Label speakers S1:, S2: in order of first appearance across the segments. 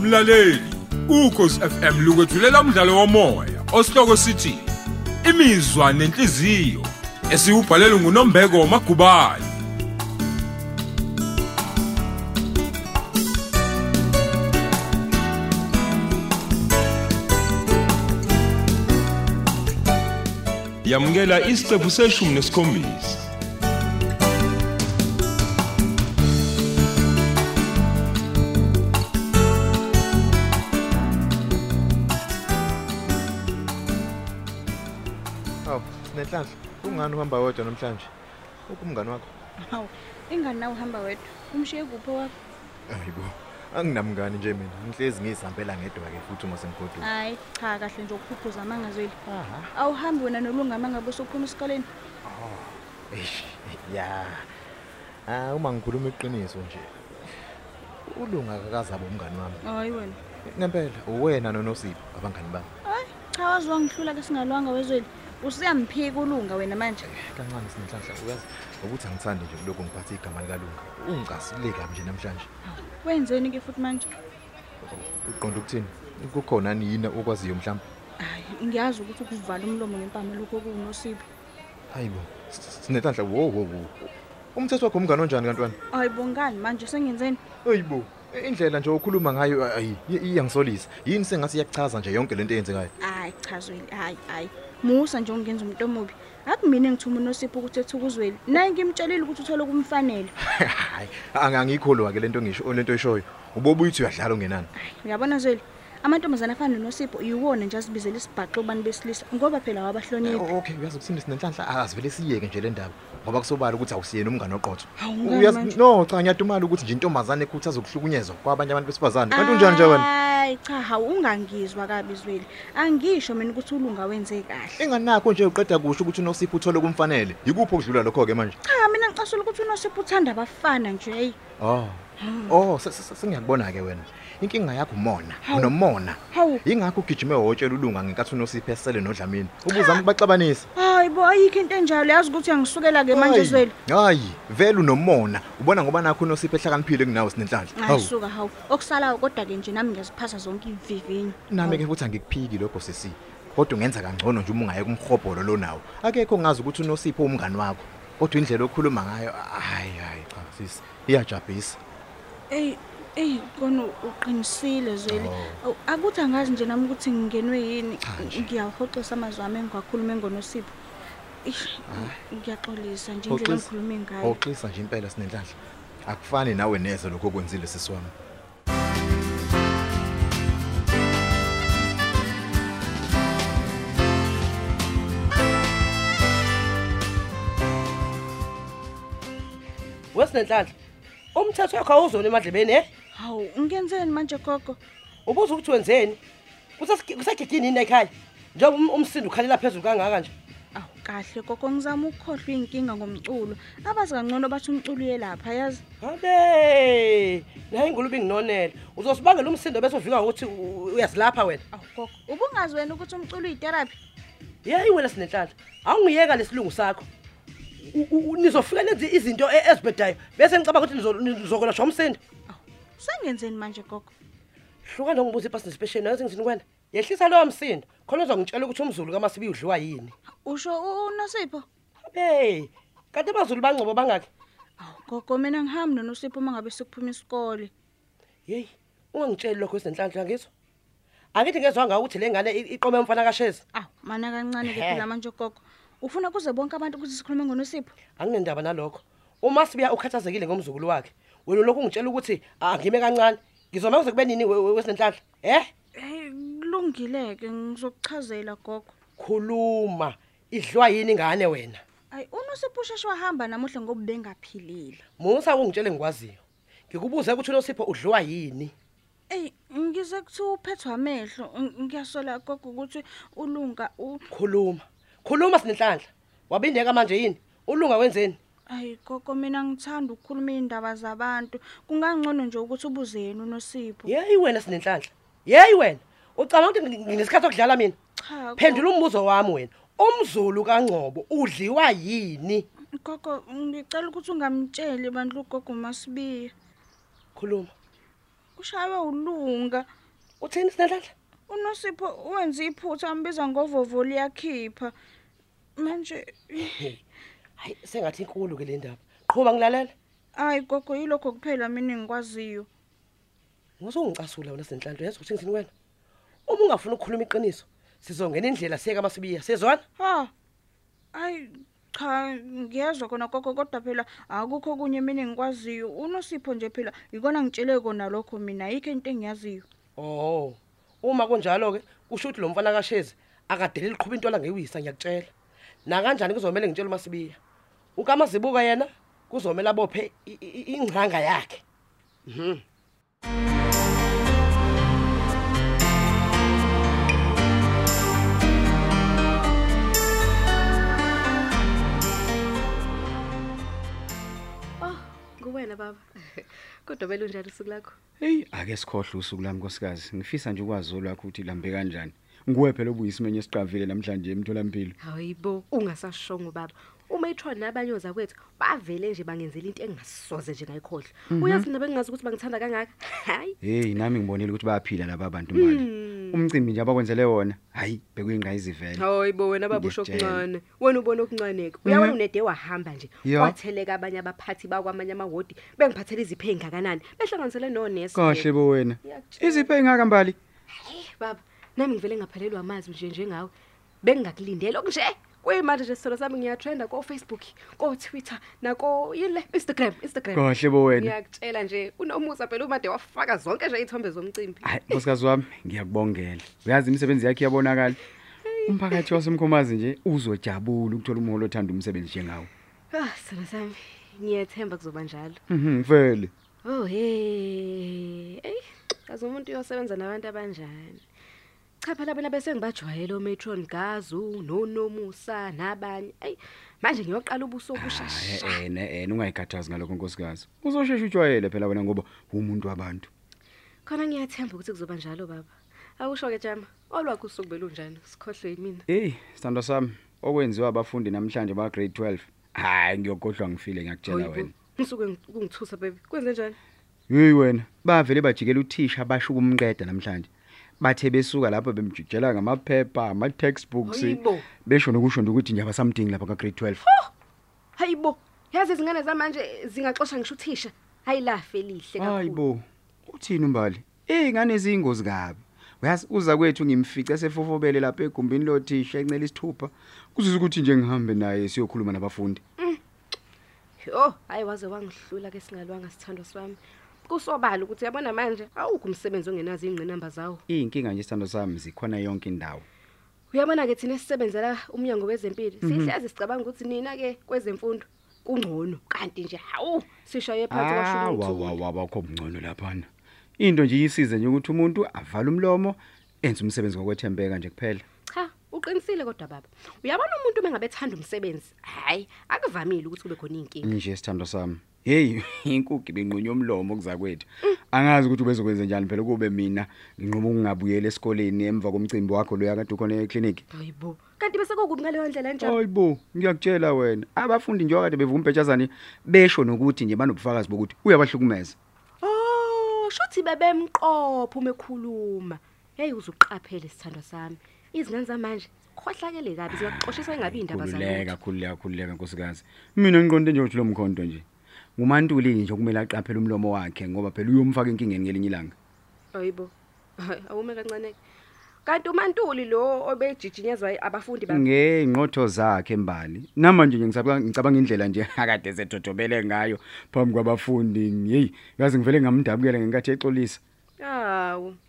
S1: mlaleli ukhosi FM lukwethulela umdlalo womoya osihloko sithi imizwa nenhliziyo esiyubhalelwe nguNombeko Magubane yamukela isiqephu seshumi nesikhombisa
S2: Aw, Oh, Sinenhlanhla, kungani uhamba wedwa namhlanje? Ukumngani wakho?
S3: hawu ingani nawe uhamba wedwa umshiye kuphi wakho
S2: Hayibo. Anginamngani nje mina. Ngihlezi ngizihambela ngedwa ke futhi uma sengigoduka.
S3: hayi cha kahle nje ukuphuphuza amangazweli
S2: Aha.
S3: awuhambi wena nolunga uma ngabe usuphuma esikoleni
S2: Eish, ya. Ah, uma ngikhuluma iqiniso nje. Ulunga kakazaba umngani wami.
S3: hayi wena
S2: Ngempela, uwena noNosipho abangani bami.
S3: hayi cha wazi wangihlula ke singalwanga wezweli usuyamphika ulunga wena manje
S2: Kancane Sinenhlanhla, uyazi ukuthi angithandi nje lokho ngiphatha igama likalunga. Ungicasile kabi nje namhlanje.
S3: wenzeni ke futhi manje
S2: Uqonda ukuthini? Kukhona yini okwaziyo mhlawumbe?
S3: hayi ngiyazi ukuthi ukuvala umlomo ngempama lokho kuwunosipho
S2: Hayibo. Sinenhlanhla, wo wo wo. Umthetho wakho umngani onjani kantwana?
S3: hayi bongani manje sengenzeni
S2: Hayibo, indlela nje okhuluma ngayo ayi iyangisolisa. Yini sengathi iyachaza nje yonke lento eyenzekayo.
S3: hayi chazweli hayi hayi musa nje ungenza umuntu omubi akumina engithuma unosipho ukuthi ethukuzweli naye ngimtshelile ukuthi uthole kumfanele
S2: Hayi, angangikholwa ke lento ngisho lento eshoyo. Ubobu uyithi uyadlala ungenani.
S3: uyabona zweli amantombazane afana nonosipho iwona nje asibizela isibhaxo kubantu besilisa ngoba phela wabahloniphi
S2: Okay, uyazi ukuthi sinenhlanhla azivele siyeke nje le ndaba. Ngoba kusobala ukuthi awusiyena umngane oqotho.
S3: Hawu, ngani
S2: Uyazi
S3: manje?
S2: no cha ngiyatumala ukuthi nje intombazane ekhuthaza ukuhlukunyezwa kwabanye abantu besifazane. Kanti unjani
S3: Ah.
S2: nje wena?
S3: hayi cha hawu ungangizwa kabi zweli angisho mina ukuthi ulunga wenze kahle
S2: Enganakho nje uqeda kusho ukuthi unosipho uthole kumfanele. Yikuphi okudlula lokho ke manje?
S3: cha mina ngicasula ukuthi unosipho uthanda abafana nje eyi
S2: Oh.
S3: Ah.
S2: Oh, se- se- sengiyakubona ke wena. Inkinga yakho umona, unomona.
S3: hawu
S2: Ingakho ugijime wotshela ulunga ngenkathi unosipho esele nodlamini. Ubuzama ukubaxabanisa.
S3: hayi bo ayikho into enjalo yazi ukuthi uyangisukela ke manje zweli
S2: Hayi, vele unomona. Ubona ngoba nakho unosipho ehlakaniphile kunawe sinenhlanhla.
S3: ngasuka hawu okusalayo kodwa-ke nje nami ngiyaziphasa zonke iy'vivinyo
S2: Nami ke futhi angikuphiki lokho sisi. Kodwa ungenza kangcono nje uma ungaye kumhobholo lo nawo. Akekho ngazi ukuthi unosipho umngani wakho. Kodwa indlela okhuluma ngayo, hayi hayi cha sisi, iyajabhisa.
S3: eyi eyi kona uqinisile zweli
S2: Oh.
S3: Awu, akuthi angazi nje nami ukuthi ngingenwe yini
S2: Cha nje.
S3: ngiyahoxisa amazwi ami engiwakhuluma engonosipho Ish, ngiyaxolisa nje indlela
S2: Hoxisa.
S3: engikhulume ngayo
S2: Oxisa nje impela sinenhlanhla. Akufani nawe neze lokho okwenzile sisi wami.
S4: wesinenhlanhla umthetho wakho awuzona emadlebeni e
S3: hawu ngenzeni manje gogo
S4: ubuza ukuthi wenzeni Kusesi- kusegigini yini ekhaya njengoba um- umsindo ukhalela phezulu kangaka nje
S3: awu kahle gogo ngizama ukukhohlwa iy'nkinga ngomculo abazi kangcono bathi umculo uye lapha yazi
S4: abe naye ingulube inginonele uzosibangela umsindo bese uvika ngokuthi u- uyazilapha wena
S3: awu gogo ubungazi wena ukuthi umculo uyiteraphi
S4: yeyi wena sinenhlanhla awungiyeka lesilungu sakho U- u- u- nizofika nenze izinto e- ezibhedayo bese ngicabanga ukuthi nizo- nizokwelashwa umsindo
S3: sengenzeni manje gogo
S4: hlukana ngibuza ibhasinespesheni yazi ngithini kwena yehlisa lowo msindo khona uzongitshela ukuthi umzulu kamasibi udliwa yini
S3: usho u- unosipho
S4: abe kanti abazulu bangcobo bangakhi
S3: awu gogo mina ngihambi nonosipho uma ngabe sikuphuma isikole
S4: yeyi ungangitsheli lokho izinhlanhla ngizwa angithi ngezwa ngawo ukuthi le ngane i- iqome umfana kashezi
S3: awu mana kancane-ke
S4: Ehhe.
S3: phela manje gogo ufuna kuze bonke abantu ukuthi sikhulume ngonosipho
S4: anginendaba nalokho uma sibuya ukhathazekile ngomzukulu wakhe wena lokhu ungitshela ukuthi angime kancane ngizoma kuze kube nini we- we- wesinenhlanhla eh
S3: Hey kulungileke ngizokuchazela gogo.
S4: khuluma idliwa yini ingane wena
S3: Ay unosepusheshe wahamba namuhle ngoba bengaphilile.
S4: musa ungitshele ngikwaziyo ngikubuze ukuthi unosipho udliwa yini
S3: Ey ngize kuthiwa uphethwe amehlo ng- ngiyasola gogo ukuthi ulunga u
S4: khuluma khuluma sinenhlanhla wabindeka manje yini ulunga wenzeni
S3: Ay gogo mina ngithanda ukukhuluma indaba zabantu. Kungangcono nje ukuthi ubuzeni unosipho.
S4: yeyi wena sinenhlanhla yeyi wena ucabanga ukuthi ngi- nginesikhathi sokudlala mina
S3: Cha. gogo-
S4: phendula umbuzo wami wena umzulu kangcobo udliwa yini
S3: Gogo ngicela ukuthi ungamtsheli bandlu gogo masibiya.
S4: khuluma
S3: Ushaywe ulunga.
S4: uthini sinenhlanhla
S3: unosipho wenze iphutha ambiza ngovovo liyakhipha manje
S4: hayi sengathi inkulu ke le ndaba qhuba ngilalela
S3: hayi gogo yilokho kuphela mina engikwaziyo
S4: ngosungicasula wena senhlanhla yazi ukuthi ngithini wena uma ungafuna ukukhuluma iqiniso sizongena indlela siyeke amasibiya sezwana
S3: ha hayi cha ngiyezwa kona gogo kodwa phela akukho okunye mina engikwaziyo unosipho nje phela yikona ngitshele kona lokho mina yikho into engiyaziyo
S4: oh uma kunjalo ke kusho ukuthi lo mfana kashezi akadeleli qhuba into la ngewisa ngiyakutshela na kanjani kuzomela ngitshela umasibiya ukamazibuka yena kuzomela bophe i- i- i- ingcanga yakhe
S5: Oh, nguwena baba. Kodwa belu njalo usuku lakho.
S6: Hey, ake sikhohle usuku lami nkosikazi. Ngifisa nje ukwazi lokho ukuthi lambe kanjani. Nguwe phela obuyisimenye esiqavile namhlanje emtholampilo.
S5: Hayibo, ungasashongo baba. Umatron nabanyoza kwethu bavele nje bangenzela into engasoze nje ngayikhohle. Uyazi mina bengingazi ukuthi bangithanda kangaka. Hayi.
S6: Hey, nami ngibonile ukuthi bayaphila laba bantu manje. Umcimbi nje abakwenzele wona. Hayi, bekuyingqa izivele.
S5: Hayibo wena baba usho
S6: Ngiyakutshela.
S5: okuncane. Wena ubona okuncaneke. Uyabona unede wahamba nje.
S6: Yo.
S5: Watheleka abanye abaphathi bakwamanye amawodi bengiphathele iziphe engakanani. Behlanganisele nonesi.
S6: Kahle bo wena.
S5: Ngiyakutshela.
S6: Iziphe ingaka mbali.
S5: Eh baba, nami ngivele ngaphelelwa amazwi nje njengawe. Bengingakulindele okunje. Kuyimanje nje solo sami ngiyatrenda ko Facebook, ko Twitter nako yile Instagram, Instagram.
S6: Kahle bo wena.
S5: Ngiyakutshela nje unomusa phela umade wafaka zonke nje izithombe zomcimbi.
S6: Hayi, nkosikazi wami, ngiyakubongela. Uyazi imisebenzi yakhe iyabonakala. Umphakathi wasemkhomazi nje uzojabula ukuthola umholi othanda umsebenzi njengawo.
S5: Ah, solo sami ngiyethemba kuzoba njalo.
S6: Mhm, vele.
S5: Oh hey. Ey, azomuntu uyosebenza nabantu abanjani? Cha phela bona bese ngibajwayela omatron gazu, nonomusa nabanye. Ey, manje ngiyoqala ubuso obushasha.
S6: Eh, eh, ne- eh, ungayikhathazi ngalokho nkosikazi. Uzosheshe ujwayele phela wena ngoba umuntu wabantu.
S5: khona ngiyathemba ukuthi kuzoba njalo baba awusho-ke jama olwakho usuku belunjani sikhohlwe yimina
S6: Hey, Sithando sami, okwenziwa abafundi namhlanje ba grade 12. Hayi, ngiyogodlwa ngifile ngiyakutshela wena.
S5: ngisuke kungithusa baby kwenze njani
S6: Hey wena, bavele bajikela uthisha basho kumnqeda namhlanje. Bathe besuka lapho bemjijela ngamaphepha, ama textbooks.
S5: Hayibo.
S6: Besho nokusho nje ukuthi njaba something lapha ka grade 12.
S5: hayi bo yazi izingane zamanje zingaxosha ngisho uthisha hayi lafe lihle kakhulu
S6: Hayibo. Uthini umbali? Eh, ngane izingozi kabi. Uyazi uza kwethu ngimfice esefofobele lapha egumbini lothisha encela isithupha. Kusiza ukuthi nje ngihambe naye siyokhuluma nabafundi.
S5: oh hayi waze wangihlula ke singalwanga sithandwa swami kusobala ukuthi yabona manje awukho umsebenzi ongenazo iy'ngqinamba zawo
S6: Inkinga nje Sithando sami zikhona yonke indawo.
S5: uyabona-ke thina esisebenzela umnyango wezempilo
S6: Mhm.
S5: sihlezi sicabanga ukuthi nina-ke kwezemfundo kungcono kanti nje hawu sishaye phansi kwasho ukuthi
S6: Ah, wa wa wakho mngcono laphana into nje isize nje ukuthi umuntu avale umlomo enze umsebenzi ngokwethembeka nje kuphela
S5: cha uqinisile kodwa baba uyabona umuntu uma ngabe ethanda umsebenzi hhayi akuvamile ukuthi kube khona iy'nkinga
S6: nje sithando sami hey inkugi benqunywe umlomo kuzakwethu angazi ukuthi ubezokwenza njani phela kube mina nginqoma ukungabuyela esikoleni emva komcimbi wakho loya kade ukhona eclinic
S5: hayibo kanti bese kokubi ngaleyo ndlela njalo
S6: hayibo ngiyakutshela wena abafundi nje wakade bevuma impetshazane besho nokuthi nje banobufakazi bokuthi uyabahlukumeza
S5: oh shouthi bebemqopha uma ekhuluma heyi uze uqaphele sithandwa sami izingane zamanje khohlakele kabi ziyakuxoshisa ingabi iy'ndaba
S6: khululeka
S5: zalutho
S6: khululeka khululeka nkosikazi mina ngiqonde nje ukuthi lo mkhonto nje ngumantuli nje kumele aqaphele umlomo wakhe ngoba phela uyomfaka enkingeni ngelinye ilanga
S5: hayibo Hayi, awume kancaneke kanti umantuli lo obejijinyezwa abafundi bami
S6: ngey'nqotho zakhe mbali namanje nje ngisaba- ngicabanga indlela nje akade sedodobele ngayo phambi kwabafundi yeyi yazi ngivele ngamdabukela ngenkathi exolisa
S5: Hawu.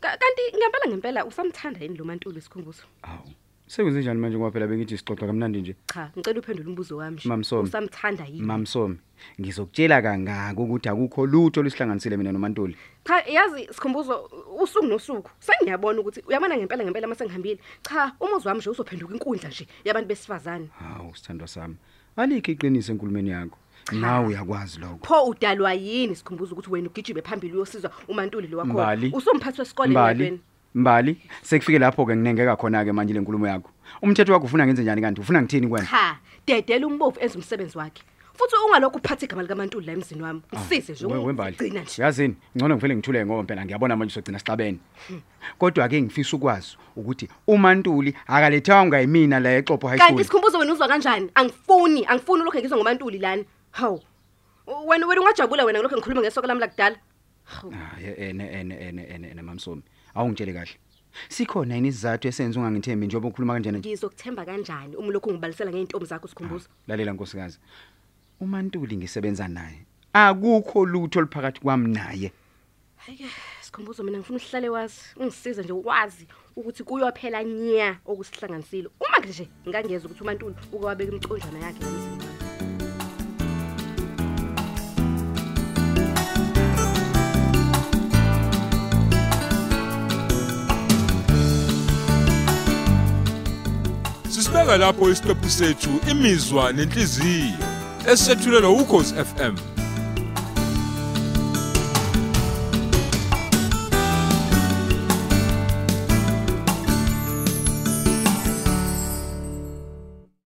S5: Ka- Kanti ngempela ngempela usamthanda yini lo mantulu isikhumbuzo?
S6: awu sekwenze njani manje ngoba phela bengithi sixoxa kamnandi nje
S5: Cha, ngicela uphendule umbuzo wami. nje.
S6: Mamsomi.
S5: Usamthanda yini?
S6: mamsomi ngizokutshela kangaka ukuthi akukho lutho olusihlanganisile mina nomantuli
S5: Cha, yazi sikhumbuzo usuku nosuku. Sengiyabona ukuthi uyabona ngempela ngempela mase ngihambile. Cha, umuzwa wami nje uzophenduka inkundla nje yabantu besifazane.
S6: hawu sithandwa sami alikho iqiniso enkulumeni yakho nawe uyakwazi lokho
S5: Pho udalwa yini sikhumbuzo ukuthi wena ugijime phambili uyosizwa umantuli lo
S6: Mbali.
S5: wakho? Usumphathi wesikole
S6: mbali
S5: yena.
S6: mbali sekufike lapho ke nginengeka khona ke manje lenkulumo yakho umthetho wakho ufuna ngenze njani kanti ufuna ngithini kwena
S5: Cha, dedela umbovu enza umsebenzi wakhe. futhi ungalokhu uphatha igama likaMantuli la emzini wami ngisize nje
S6: Ah, We- wembali
S5: ungigcina nje
S6: yazini ngcono ngivele ngithule ngoba phela ngiyabona manje usogcina sixabene
S5: Hmm.
S6: kodwa ke ngifisa ukwazi ukuthi uMantuli akalethanga yimina la exopo high
S5: kanti
S6: school
S5: isikhumbuzo wena uzwa kanjani angifuni angifuni lokho ngizwa ngoMantuli lana haw wena wena ungajabula wena lokho ngikhuluma ngesoka lami lakudala
S6: Ah, ye- ene ene ene ene ene mamsomi awungitshele kahle sikhona yini isizathu esenza ungangithembi njengoba ukhuluma kanjena nje
S5: ngizokuthemba kanjani uma lokho ungibalisela ngeentombi zakho sikhumbuzo
S6: lalela nkosikazi uMantuli ngisebenza naye akukho lutho oluphakathi kwami naye
S5: hayike sikhumbuzo mina ngifuna uhlale wazi ungisize nje wazi ukuthi kuyophela nya okusihlanganisile uma nje nje ngingangeza ukuthi uMantuli uke wabeka imiconjwana yakhe ngemzini wami.
S1: Sisibeka lapho isiqephu sethu imizwa nenhliziyo esethulelwa ukhozi FM